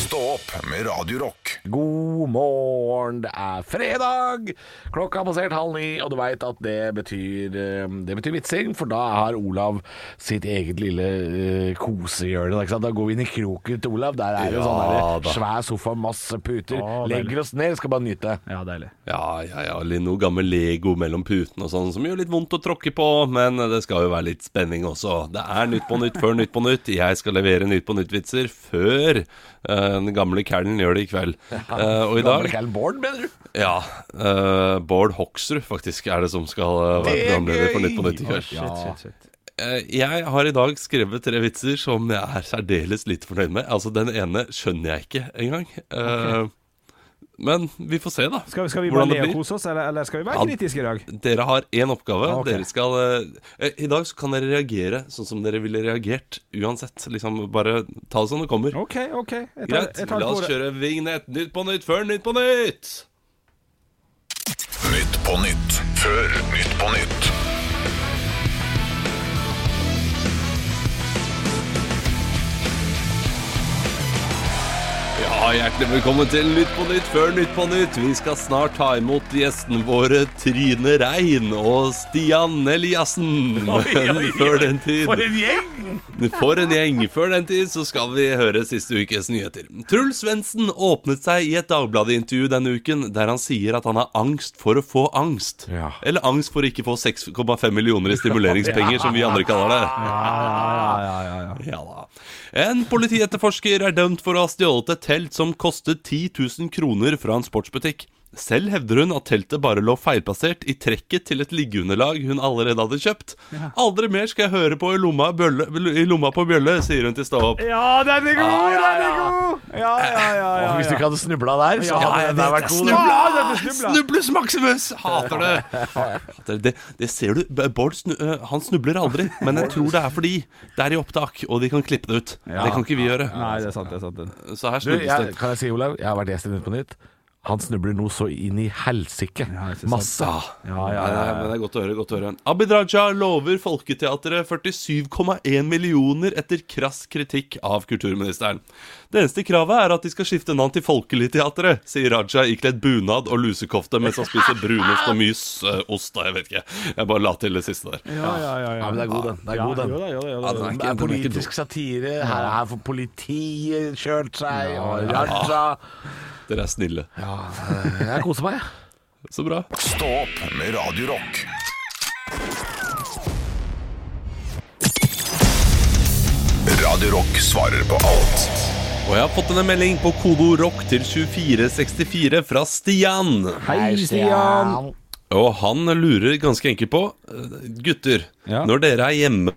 Speaker 1: Stå opp med Radio Rock.
Speaker 6: God morgen, det er fredag! Klokka har passert halv ni, og du veit at det betyr eh, Det betyr vitsing, for da har Olav sitt eget lille eh, kosehjørne. da, Ikke sant? Da går vi inn i kroken til Olav. Der er det jo sånn der, svær sofa, masse puter.
Speaker 5: Å, deilig.
Speaker 6: Legger oss ned, skal bare nyte.
Speaker 5: ja, deilig.
Speaker 4: Ja, ja, ja, litt noe gammel Lego mellom putene og sånn, som gjør litt vondt å tråkke på, men det skal jo være litt spenning også. Det er Nytt på Nytt før Nytt på Nytt. Jeg skal levere Nytt på Nytt-vitser før eh, den gamle Callen gjør det i kveld. Eh, og i dag
Speaker 6: Gammel Bård, mener du?
Speaker 4: Ja. eh, Bård Hoksrud, faktisk, er det som skal eh, være
Speaker 6: Det er
Speaker 4: programleder for
Speaker 6: gøy!
Speaker 4: Nytt på Nytt i kveld.
Speaker 5: Shit, shit, shit.
Speaker 4: Eh, jeg har i dag skrevet tre vitser som jeg er særdeles lite fornøyd med. Altså, den ene skjønner jeg ikke engang. Eh, Men vi får se, da.
Speaker 5: Skal, skal vi bare
Speaker 4: hvordan det
Speaker 5: le og
Speaker 4: blir.
Speaker 5: kose oss, eller, eller skal vi være
Speaker 4: Ja.
Speaker 5: kritiske i dag?
Speaker 4: Dere har én oppgave.
Speaker 5: Ah, ok.
Speaker 4: Dere skal eh, I dag så kan dere reagere sånn som dere ville reagert uansett. Liksom Bare ta det som det kommer.
Speaker 5: OK, OK. Jeg tar,
Speaker 4: Greit,
Speaker 5: jeg tar
Speaker 4: la oss
Speaker 5: ordet.
Speaker 4: kjøre vignett. Nytt på nytt før Nytt på nytt!
Speaker 1: Nytt på nytt før Nytt på nytt.
Speaker 4: Ja, Hjertelig velkommen til Nytt på nytt før Nytt på nytt. Vi skal snart ta imot gjestene våre Trine Rein og Stian Eliassen. Men før den tid
Speaker 6: For en gjeng!
Speaker 4: For en gjeng! Før den tid så skal vi høre siste ukes nyheter. Truls Svendsen åpnet seg i et Dagbladet-intervju denne uken, der han sier at han har angst for å få angst.
Speaker 6: Ja.
Speaker 4: Eller angst for å ikke få 6,5 millioner i stimuleringspenger, som vi andre kaller det. Ja da. En politietterforsker er dømt for å ha stjålet et telt som kostet 10 000 kroner fra en sportsbutikk. Selv hevder hun at teltet bare lå feilplassert i trekket til et liggeunderlag hun allerede hadde kjøpt. Aldri mer skal jeg høre på i lomma, bølle, i lomma på bjølle, sier hun til Stå opp.
Speaker 5: Ja, den er god, den er god! Ja, ja, ja. ja,
Speaker 6: Og hvis du
Speaker 5: ja.
Speaker 6: ikke hadde snubla der, så hadde den der vært god. da.
Speaker 5: Ja, den er snubla.
Speaker 4: Ah, Snubles Maximus! Hater det. Hater det. Det ser du. B- Bård snu, øh, han snubler aldri, men jeg tror det er fordi det er i opptak, og de kan klippe det ut. Det kan ikke vi gjøre.
Speaker 5: Nei, det er sant, det er sant. den.
Speaker 4: Så her
Speaker 6: Du,
Speaker 4: snubles
Speaker 6: jeg,
Speaker 4: det.
Speaker 6: kan jeg si, Olav, jeg har vært gjest i Nytt på Nytt. Han snubler nå så inn i helsike.
Speaker 5: ikke sant.
Speaker 6: Masse.
Speaker 5: Ja, ja,
Speaker 4: Nei,
Speaker 5: ja.
Speaker 4: nei, men det er godt å høre. godt å høre Abid Raja lover Folketeatret 47,1 millioner etter krass kritikk av kulturministeren. Det eneste kravet er at de skal skifte navn til Folkeligteatret, sier Raja ikledd bunad og lusekofte mens han spiser brunost og mys eh, ost. da, Jeg vet ikke. Jeg bare la til det siste der.
Speaker 5: Ja, ja, ja.
Speaker 6: Ja,
Speaker 5: ja.
Speaker 6: men det er god, den. Det er
Speaker 5: Ja,
Speaker 6: god, den.
Speaker 5: jo da, jo da, jo da.
Speaker 4: den er ikke-
Speaker 6: Det er
Speaker 4: den er ikke
Speaker 6: politisk satire. Her er for politiet kjørt seg, og Raja
Speaker 4: dum. Dere er snille.
Speaker 6: Eh, Jeg koser meg, jeg.
Speaker 4: Så bra.
Speaker 1: Stå opp med Radio Rock. Radio Rock svarer på alt.
Speaker 4: Og jeg har fått en melding på kodeord rock til 2464 fra Stian.
Speaker 5: Hei, Stian.
Speaker 4: Og han lurer ganske enkelt på eh, Gutter,
Speaker 5: Ja.
Speaker 4: når dere er hjemme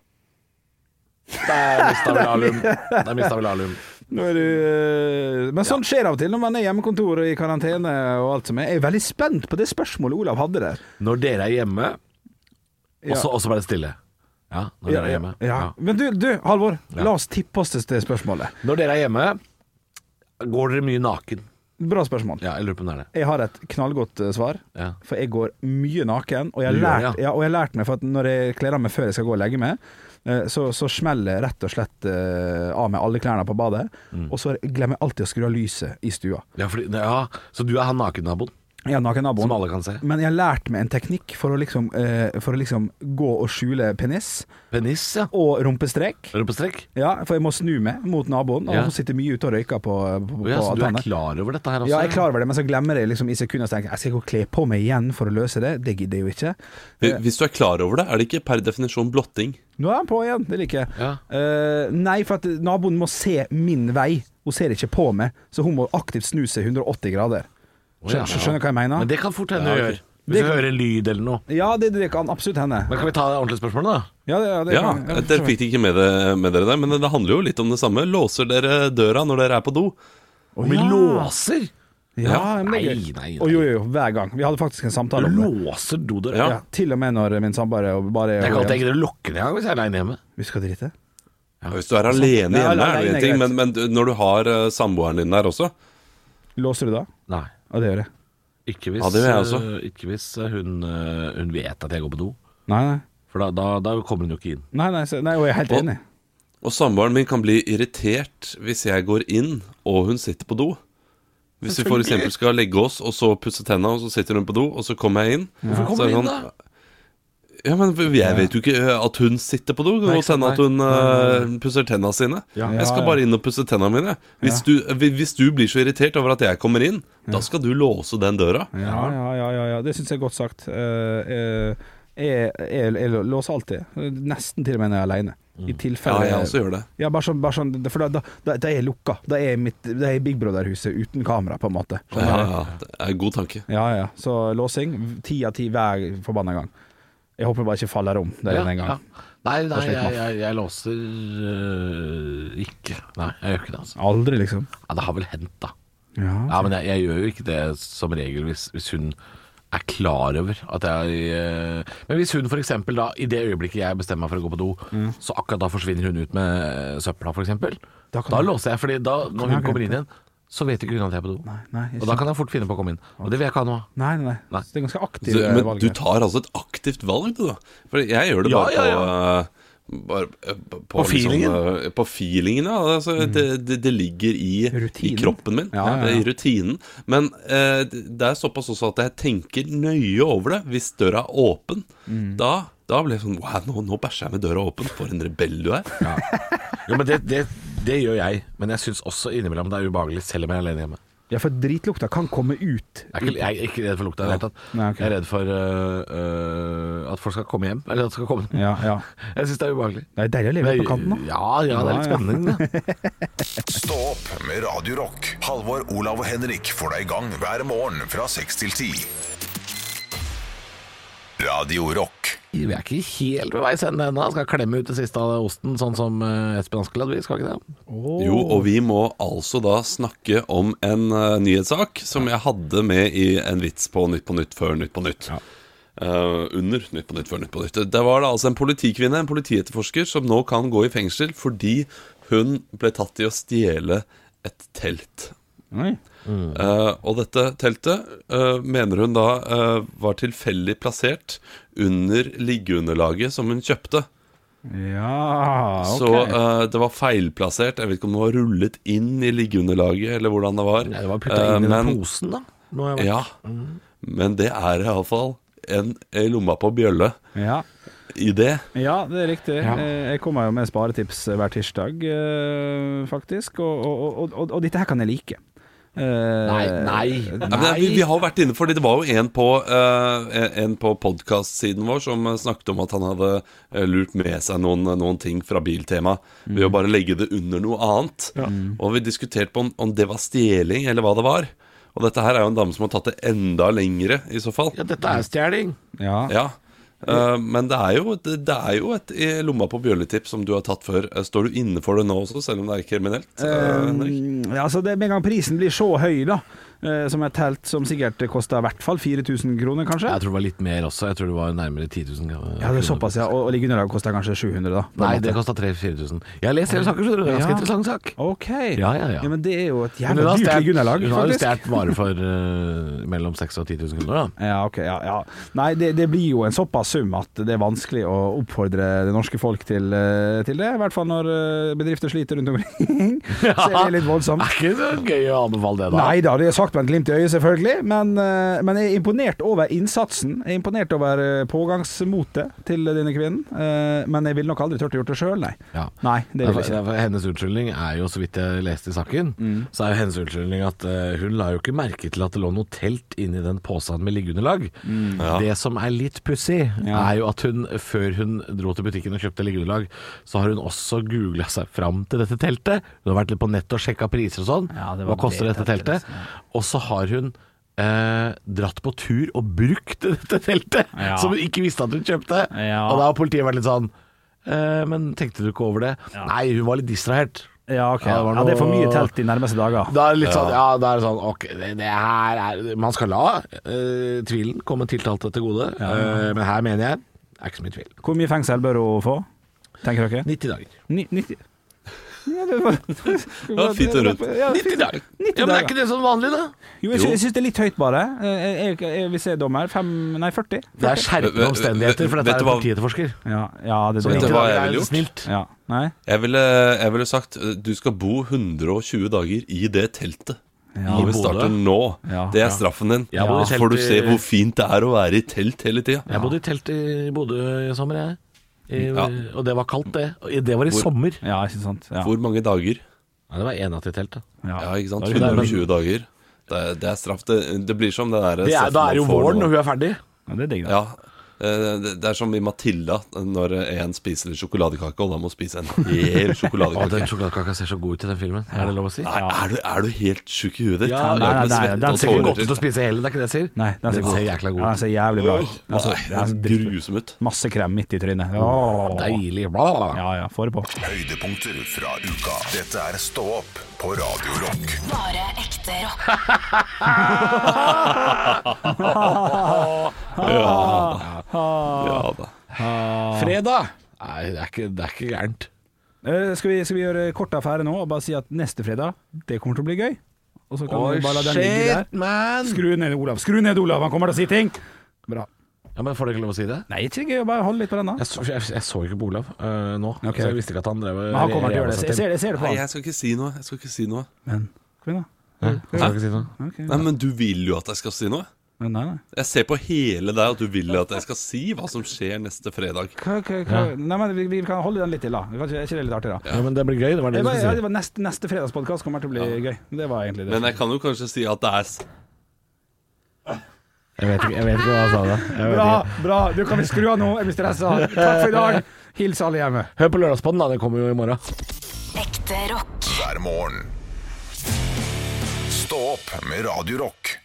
Speaker 6: Der mista vi Lahlum. Der mista vi Lahlum.
Speaker 5: Nå er du, eh, men sånt skjer av og til når man er hjemmekontor og i karantene og alt som er. Jeg er veldig spent på det spørsmålet Olav hadde der.
Speaker 6: Når dere er hjemme,
Speaker 5: Ja.
Speaker 6: og så- og så bare stille. Ja, når dere er hjemme.
Speaker 5: Ja.
Speaker 6: Ja.
Speaker 5: Men du, du Halvor,
Speaker 6: Ja.
Speaker 5: la oss tippe oss til det spørsmålet.
Speaker 6: Når dere er hjemme, går dere mye naken?
Speaker 5: Bra spørsmål.
Speaker 6: Ja, jeg lurer på om det er det.
Speaker 5: Jeg har et knallgodt eh, svar.
Speaker 6: Ja.
Speaker 5: For jeg går mye naken, og jeg har
Speaker 6: Du gjør det,
Speaker 5: lært,
Speaker 6: ja.
Speaker 5: ja. og jeg har lært meg for at når jeg kler av meg før jeg skal gå og legge meg, eh, så, så smeller jeg rett og slett eh, av meg alle klærne på badet,
Speaker 6: Mm.
Speaker 5: og så glemmer jeg alltid å skru av lyset i stua.
Speaker 6: Ja, fordi, ja, så du er han nakennaboen
Speaker 5: Jeg er naken naboen.
Speaker 6: som alle kan se?
Speaker 5: Men jeg har lært meg en teknikk for å liksom, eh, for å liksom gå og skjule penis
Speaker 6: Penis, ja.
Speaker 5: og rumpestrek.
Speaker 6: Rumpestrekk?
Speaker 5: Ja, for jeg må snu meg mot naboen, og
Speaker 6: Ja.
Speaker 5: hun sitter mye ute og røyker på, på,
Speaker 6: Å
Speaker 5: på
Speaker 6: Ja, så du er
Speaker 5: altanet.
Speaker 6: klar altså. over dette her også?
Speaker 5: Ja, jeg er klar over det, men så glemmer jeg liksom i sekunder og tenker jeg, jeg skal gå og kle på meg igjen for å løse det. Det gidder jeg jo ikke.
Speaker 4: Hvi- Hvis du er klar over det, er det ikke per definisjon blotting.
Speaker 5: Nå er han på igjen, det liker jeg.
Speaker 6: Ja.
Speaker 5: Eh, nei, for at naboen må se min vei. Hun ser ikke på meg, så hun må aktivt snu seg 180 grader.
Speaker 6: Å, ja.
Speaker 5: Skjønner, skjønner du hva jeg mener?
Speaker 6: Men det kan fort hende
Speaker 4: Ja,
Speaker 6: du
Speaker 4: ok.
Speaker 6: gjør. Hvis
Speaker 5: Det
Speaker 6: du
Speaker 5: kan-
Speaker 6: hører lyd eller noe.
Speaker 5: Ja, det, det kan absolutt hende.
Speaker 6: Men kan vi ta det ordentlige spørsmålet, da?
Speaker 5: Ja, det, ja, det
Speaker 4: Ja, eh,
Speaker 5: kan, for så
Speaker 4: Dere
Speaker 5: vidt.
Speaker 4: fikk det ikke med, det, med dere der, men det handler jo litt om det samme. Låser dere døra når dere er på do?
Speaker 6: Om vi
Speaker 5: ja.
Speaker 6: låser?
Speaker 5: Ja, men det er
Speaker 6: Nei,
Speaker 5: gøy.
Speaker 6: nei,
Speaker 5: Å,
Speaker 6: nei.
Speaker 5: jo, jo, jo, hver gang. Vi hadde faktisk en samtale om det.
Speaker 6: Låser dodøra?
Speaker 4: Ja.
Speaker 5: Ja, til og med når min samboer er og bare
Speaker 6: Jeg kan ikke tenke å lukke den engang hvis jeg er aleine hjemme.
Speaker 5: Vi skal drite.
Speaker 4: Hvis du er
Speaker 5: Ja,
Speaker 4: alene hjemme, er det
Speaker 5: alene
Speaker 4: jo
Speaker 5: er
Speaker 4: en
Speaker 5: greit.
Speaker 4: ting, men, men du- når du har eh, samboeren din der også
Speaker 5: Låser du da?
Speaker 6: Nei.
Speaker 5: Ja, det gjør jeg.
Speaker 6: Ikke hvis,
Speaker 4: Ja, det gjør jeg også.
Speaker 6: øh, ikke hvis øh, hun, øh, hun vet at jeg går på do.
Speaker 5: Nei, nei.
Speaker 6: For da, da, da kommer hun jo ikke inn.
Speaker 5: Nei, nei, så, nei og jeg er helt
Speaker 4: Og-
Speaker 5: enig.
Speaker 4: Og samboeren min kan bli irritert hvis jeg går inn og hun sitter på do. Hvis vi f.eks. skal legge oss og så pusse tenna, og så sitter hun på do, og så kommer jeg inn.
Speaker 6: Hvorfor
Speaker 4: Så
Speaker 6: kommer
Speaker 4: er
Speaker 6: hun inn,
Speaker 4: sånn,
Speaker 6: da?
Speaker 4: Ja, men jeg vet jo ikke eh, at hun sitter på do. Det kan
Speaker 6: Nei,
Speaker 4: godt
Speaker 6: ikke sant,
Speaker 4: hende at
Speaker 6: nei.
Speaker 4: hun eh, pusser tenna sine.
Speaker 5: Ja.
Speaker 4: Jeg skal
Speaker 5: Ja, ja.
Speaker 4: bare inn og pusse tenna mine. Hvis, du, eh, hvi- hvis du blir så irritert over at jeg kommer inn, da skal du låse den døra.
Speaker 5: Ja, ja, ja, ja, ja. det syns jeg er godt sagt. Eh, eh, jeg, jeg, jeg låser alltid. Nesten til og med når jeg er aleine. I
Speaker 4: Ja,
Speaker 5: tilfelle
Speaker 4: jeg også gjør det.
Speaker 5: Ja, bare sånn, bare sånn For da, da, da, da er jeg lukka. Da er jeg, mitt, da er jeg i Big Brother-huset uten kamera, på en måte.
Speaker 4: Ja,
Speaker 5: Skjønner du?
Speaker 4: ja, det er en god tanke.
Speaker 5: Ja, ja. Så låsing, ti av ti hver forbanna gang. Jeg håper jeg bare ikke faller om der
Speaker 6: Ja,
Speaker 5: inne en gang.
Speaker 6: ja. Nei, nei
Speaker 5: sliter
Speaker 6: jeg,
Speaker 5: man.
Speaker 6: jeg, jeg låser øh, ikke. Nei, jeg gjør ikke det, altså.
Speaker 5: Aldri, liksom.
Speaker 6: Ja, det har vel hendt, da.
Speaker 5: Ja.
Speaker 6: Ja, men jeg, jeg gjør jo ikke det som regel hvis, hvis hun er klar over at jeg eh, Men hvis hun f.eks. da, i det øyeblikket jeg bestemmer meg for å gå på do, så akkurat da forsvinner hun ut med eh, søpla f.eks.,
Speaker 5: Da
Speaker 6: da,
Speaker 5: kan
Speaker 6: da
Speaker 5: jeg-
Speaker 6: låser jeg. fordi da, når
Speaker 5: jeg
Speaker 6: hun kommer
Speaker 5: glemme
Speaker 6: inn igjen, så vet ikke hun at jeg er på do.
Speaker 5: Nei, nei, jeg
Speaker 6: og da kan jeg fort finne på å komme inn. Og det vil jeg ikke ha nå.
Speaker 5: Nei, nei, nei.
Speaker 6: Nei.
Speaker 5: Så Det er ganske
Speaker 4: Du,
Speaker 5: aktivt
Speaker 4: men
Speaker 5: valg.
Speaker 4: du
Speaker 5: her.
Speaker 4: tar altså et aktivt valg, du, da. For jeg gjør det
Speaker 6: Ja,
Speaker 4: bare
Speaker 6: ja,
Speaker 4: på eh, bare, eh, på,
Speaker 6: På feelingen?
Speaker 4: eh, på feelingen, ja. Altså, det, det, det ligger i, i
Speaker 5: Rutinen.
Speaker 4: kroppen min.
Speaker 5: Ja, ja, ja.
Speaker 4: Det er I rutinen. Men eh, det er såpass også at jeg tenker nøye over det. Hvis døra er åpen, da, da blir jeg sånn Wow, nå, nå bæsjer jeg med døra åpen. For en rebell du er.
Speaker 6: Jo, men det, det, det gjør jeg. Men jeg syns også innimellom det er ubehagelig, selv om jeg er alene hjemme.
Speaker 5: Ja, for dritlukta kan komme ut.
Speaker 6: Jeg er ikke, jeg er ikke redd for lukta i det hele tatt.
Speaker 5: Nei, ok.
Speaker 6: Jeg er redd for øh, øh, at folk skal komme hjem. Eller at de skal komme
Speaker 5: Ja, ja.
Speaker 6: Jeg syns det er ubehagelig.
Speaker 5: Det er deilig å leve
Speaker 6: Men-
Speaker 5: på kanten, da.
Speaker 6: Ja, ja, det er litt
Speaker 5: Ja, ja.
Speaker 6: spennende. det.
Speaker 1: Stå opp med Radio Rock. Halvor, Olav og Henrik får deg i gang hver morgen fra 6 til 10. Radio Rock.
Speaker 6: Vi er ikke helt ved veis ende ennå. Skal klemme ut det siste av osten, sånn som eh, Espen Askeladd vil, skal ikke det?
Speaker 4: Jo, og vi må altså da snakke om en eh, nyhetssak som jeg hadde med i en vits på Nytt på Nytt før Nytt på Nytt. Eh, under Nytt på Nytt før Nytt på Nytt. Der var det altså en politikvinne, en politietterforsker, som nå kan gå i fengsel fordi hun ble tatt i å stjele et telt.
Speaker 5: Oi.
Speaker 4: Eh, og dette teltet eh, mener hun da eh, var tilfeldig plassert under liggeunderlaget som hun kjøpte.
Speaker 5: Ja, ok.
Speaker 4: Så eh, det var feilplassert. Jeg vet ikke om det var rullet inn i liggeunderlaget, eller hvordan det var.
Speaker 6: Nei, det var putta inn
Speaker 4: Eh,
Speaker 6: i den
Speaker 4: men-
Speaker 6: posen, Mm. da. Nå har jeg vært-
Speaker 4: Ja. Men det er iallfall en en lomma på bjølle
Speaker 5: ja.
Speaker 4: i det.
Speaker 5: ja, det er riktig.
Speaker 6: eh, Ja.
Speaker 5: Eh, Jeg kommer jo med sparetips hver tirsdag, eh, faktisk. Og, og, og, og, og dette her kan jeg like. Eh,
Speaker 6: Nei, nei,
Speaker 4: Ja, men det- vi, vi
Speaker 6: nei.
Speaker 4: har vært inne for det. Det var jo en på, uh, en på podkast-siden vår som eh, snakket om at han hadde eh, lurt med seg noen, noen ting fra Biltema ved
Speaker 6: Mm.
Speaker 4: å bare legge det under noe annet. Og vi diskuterte på om, om det var stjeling eller hva det var. Og dette her er jo en dame som har tatt det enda lengre, i så fall.
Speaker 6: Ja, dette er stjeling.
Speaker 5: Ja.
Speaker 4: Ja. Eh, men det er, jo, det, det er jo et i lomma på bjølletipp som du har tatt før. Eh, Står du inne for det nå også, selv om det er kriminelt? eh, Henrik?
Speaker 5: Mm, ja, altså det, med en gang prisen blir så høy, da, eh, som et telt som sikkert kosta i hvert fall 4000 kroner, kanskje?
Speaker 6: Jeg tror det var litt mer også. Jeg tror det var nærmere 10 000. kroner.
Speaker 5: Ja, det er såpass, ja. Og, og ligge underlag kosta kanskje 700, da.
Speaker 6: Nei, det kosta 3000-4000. Jeg har lest hele saken, så det er en ganske
Speaker 5: Ja.
Speaker 6: interessant sak.
Speaker 5: OK.
Speaker 6: Ja, ja, ja.
Speaker 5: men det er jo et
Speaker 6: Men hun
Speaker 5: jævla
Speaker 6: har
Speaker 5: dyrt
Speaker 6: stjert-
Speaker 5: liggeunderlag,
Speaker 6: hun har jo
Speaker 5: faktisk.
Speaker 6: stjålet varer for eh, mellom 6000 og 10 000 kroner, da.
Speaker 5: Ja, ok, ja, ja. Nei, det, det blir jo en såpass sum at det er vanskelig å oppfordre det norske folk til, eh, til det. I hvert fall når eh, bedrifter sliter rundt omkring. Så er det litt voldsomt.
Speaker 6: Er ikke det gøy å anbefale det, da?
Speaker 5: Nei da, det er sagt med et glimt i øyet, selvfølgelig. Men, eh, men jeg er imponert over innsatsen. Jeg er imponert over eh, pågangsmotet til denne kvinnen. Eh, Men jeg ville nok aldri turt å gjort det sjøl, nei.
Speaker 6: Ja.
Speaker 5: Nei, det vil
Speaker 6: Derfor,
Speaker 5: jeg ikke. Mm.
Speaker 6: derfor, hennes unnskyldning er jo, så vidt jeg leste i saken, så er jo hennes unnskyldning at eh, hun la jo ikke merke til at det lå noe telt inni den posen med liggeunderlag. Det som er litt pussig,
Speaker 5: Mm. Ja.
Speaker 6: er jo at hun før hun dro til butikken og kjøpte liggeunderlag, så har hun også googla seg fram til dette teltet. Hun har vært litt på nett og sjekka priser og sånn.
Speaker 5: Ja, det var
Speaker 6: Hva koster
Speaker 5: det
Speaker 6: dette
Speaker 5: teltet, liksom,
Speaker 6: teltet? Og så har hun eh, dratt på tur og brukt dette teltet,
Speaker 5: Ja.
Speaker 6: som hun ikke visste at hun kjøpte.
Speaker 5: Ja.
Speaker 6: Og da har politiet vært litt sånn Eh, men tenkte du ikke over det? Nei, hun var litt distrahert.
Speaker 5: Ja, ok.
Speaker 6: Ja, det var
Speaker 5: Ja, det er for
Speaker 6: noe-
Speaker 5: mye telt de nærmeste dager.
Speaker 6: Da er det litt sånn, ja, da er det sånn Ok, det, det her er Man skal la eh, tvilen komme tiltalte til gode, eh, men her mener jeg det er ikke så mye tvil.
Speaker 5: Hvor mye fengsel bør hun få, tenker dere?
Speaker 6: 90 dager.
Speaker 5: Ni- 90 ja, det var,
Speaker 4: Ja, fint og rundt.
Speaker 5: Ja,
Speaker 6: 90 dager!
Speaker 5: 90
Speaker 6: ja, men
Speaker 5: dager.
Speaker 6: er ikke det sånn vanlig, da?
Speaker 5: Jo, jeg, sy- jeg syns det er litt høyt, bare. Eh, Jeg, jeg, jeg vil se dommer. Fem, nei, 40.
Speaker 6: Det er skjerpende
Speaker 4: Vet-
Speaker 6: omstendigheter, for
Speaker 4: vet-
Speaker 6: dette
Speaker 4: vet
Speaker 6: er
Speaker 4: du
Speaker 6: en
Speaker 4: hva-
Speaker 6: politietterforsker.
Speaker 5: Ja, ja det
Speaker 6: Så
Speaker 5: er
Speaker 4: vet du
Speaker 5: det.
Speaker 4: hva
Speaker 6: det
Speaker 4: jeg
Speaker 6: er
Speaker 4: ville gjort?
Speaker 6: snilt.
Speaker 5: Ja, nei.
Speaker 4: Jeg ville, jeg ville sagt eh, du skal bo 120 dager i det teltet.
Speaker 5: Ja.
Speaker 4: Livet
Speaker 6: I Bodø.
Speaker 4: starter nå.
Speaker 5: Ja,
Speaker 4: det er straffen din.
Speaker 6: Jeg bor i
Speaker 4: Så får du
Speaker 6: telt i-
Speaker 4: se hvor fint det er å være i telt hele tida.
Speaker 6: Jeg bodde i telt i Bodø i sommer, jeg. I,
Speaker 4: Ja.
Speaker 6: Og det var kaldt, det. Og Det var i sommer.
Speaker 5: Ja, ikke sant. Ja.
Speaker 4: Hvor mange dager?
Speaker 6: Ja, det var enatt i telt, da.
Speaker 4: Ja, ikke sant?
Speaker 5: Da er det-
Speaker 4: 120 dager. Det er, det er straff. Det, det blir som det der eh,
Speaker 6: Det er,
Speaker 4: straffen
Speaker 6: da er det jo
Speaker 4: man får
Speaker 6: våren,
Speaker 4: nå.
Speaker 6: og hun er ferdig.
Speaker 5: Ja, det er digg, da.
Speaker 4: Ja. eh, Det det er som i Matilda, når en spiser en sjokoladekake, og da må spise en hel
Speaker 6: Å, den
Speaker 4: sjokoladekake.
Speaker 6: sjokoladekaka ser så god ut i den filmen. Er det lov å si?
Speaker 4: Nei, er, du, er du helt sjuk i huet ditt?
Speaker 6: Ja,
Speaker 4: Du
Speaker 6: nei,
Speaker 5: nei,
Speaker 4: er med
Speaker 5: nei,
Speaker 4: svette
Speaker 5: den
Speaker 4: og
Speaker 5: ser ikke
Speaker 4: tårer.
Speaker 5: godt
Speaker 6: Godt ut å spise hele, det er ikke det jeg sier?
Speaker 5: Nei, den ser,
Speaker 6: Den
Speaker 5: god
Speaker 6: ser
Speaker 5: ut.
Speaker 6: jækla god
Speaker 5: Ja,
Speaker 6: ut.
Speaker 5: Den ser jævlig bra ut. Den ser- den
Speaker 4: Nei,
Speaker 5: ser
Speaker 4: altså, det er
Speaker 5: dritfett.
Speaker 4: grusom ut.
Speaker 5: Masse krem midt i trynet. Åh.
Speaker 6: Deilig. Bla, bla, bla.
Speaker 5: Ja ja, få det på.
Speaker 1: Høydepunkter fra uka. Dette er Stå opp på Radio Rock.
Speaker 2: Bare ekte rock.
Speaker 4: Ja da.
Speaker 6: Fredag! Nei, det er ikke, det er ikke gærent.
Speaker 5: Eh, Skal vi, skal vi gjøre kort affære nå og bare si at neste fredag, det kommer til å bli gøy? Og så kan vi bare la den ligge der.
Speaker 6: man!
Speaker 5: Skru ned Olav, skru ned Olav, han kommer til å si ting! Bra.
Speaker 6: Ja, men Får dere ikke lov å si det?
Speaker 5: Nei, ikke gøy å bare holde litt på den, da.
Speaker 6: Jeg så, jeg, jeg så ikke på Olav eh, nå,
Speaker 5: Ok.
Speaker 6: så jeg visste ikke at han drev
Speaker 5: Men han kommer til å gjøre det. Jeg ser det, jeg ser det på
Speaker 4: Nei,
Speaker 5: han.
Speaker 4: jeg skal ikke si noe. Jeg skal ikke si noe.
Speaker 5: Men kom igjen,
Speaker 6: Skal jeg ikke si noe?
Speaker 5: da. Ok.
Speaker 4: Nei, Men du vil jo at jeg skal si noe.
Speaker 5: Men Nei, nei.
Speaker 4: Jeg ser på hele deg at du vil at jeg skal si hva som skjer neste fredag.
Speaker 5: Hva, hva, hva? Nei, men vi, vi kan holde den litt til, da. Vi kan ikke- Er ikke det litt artig, da?
Speaker 6: Ja, men det blir gøy. Det var det
Speaker 5: Jeg
Speaker 6: du
Speaker 5: bare, ja, det
Speaker 6: skulle si.
Speaker 5: var neste, neste fredags podkast kommer til å bli gøy. Det var egentlig det.
Speaker 4: Men jeg kan jo kanskje si at det er s-
Speaker 6: Jeg vet ikke, jeg vet ikke hva han sa da. Jeg vet
Speaker 5: Bra,
Speaker 6: ikke.
Speaker 5: bra. Du kan vi skru av nå, jeg blir stressa. Takk for i dag. Hils alle hjemme.
Speaker 6: Hør på Lørdagspodden, da. Det kommer jo i morgen.
Speaker 2: Ekte rock.
Speaker 1: hver morgen. Stå opp med Radio Rock.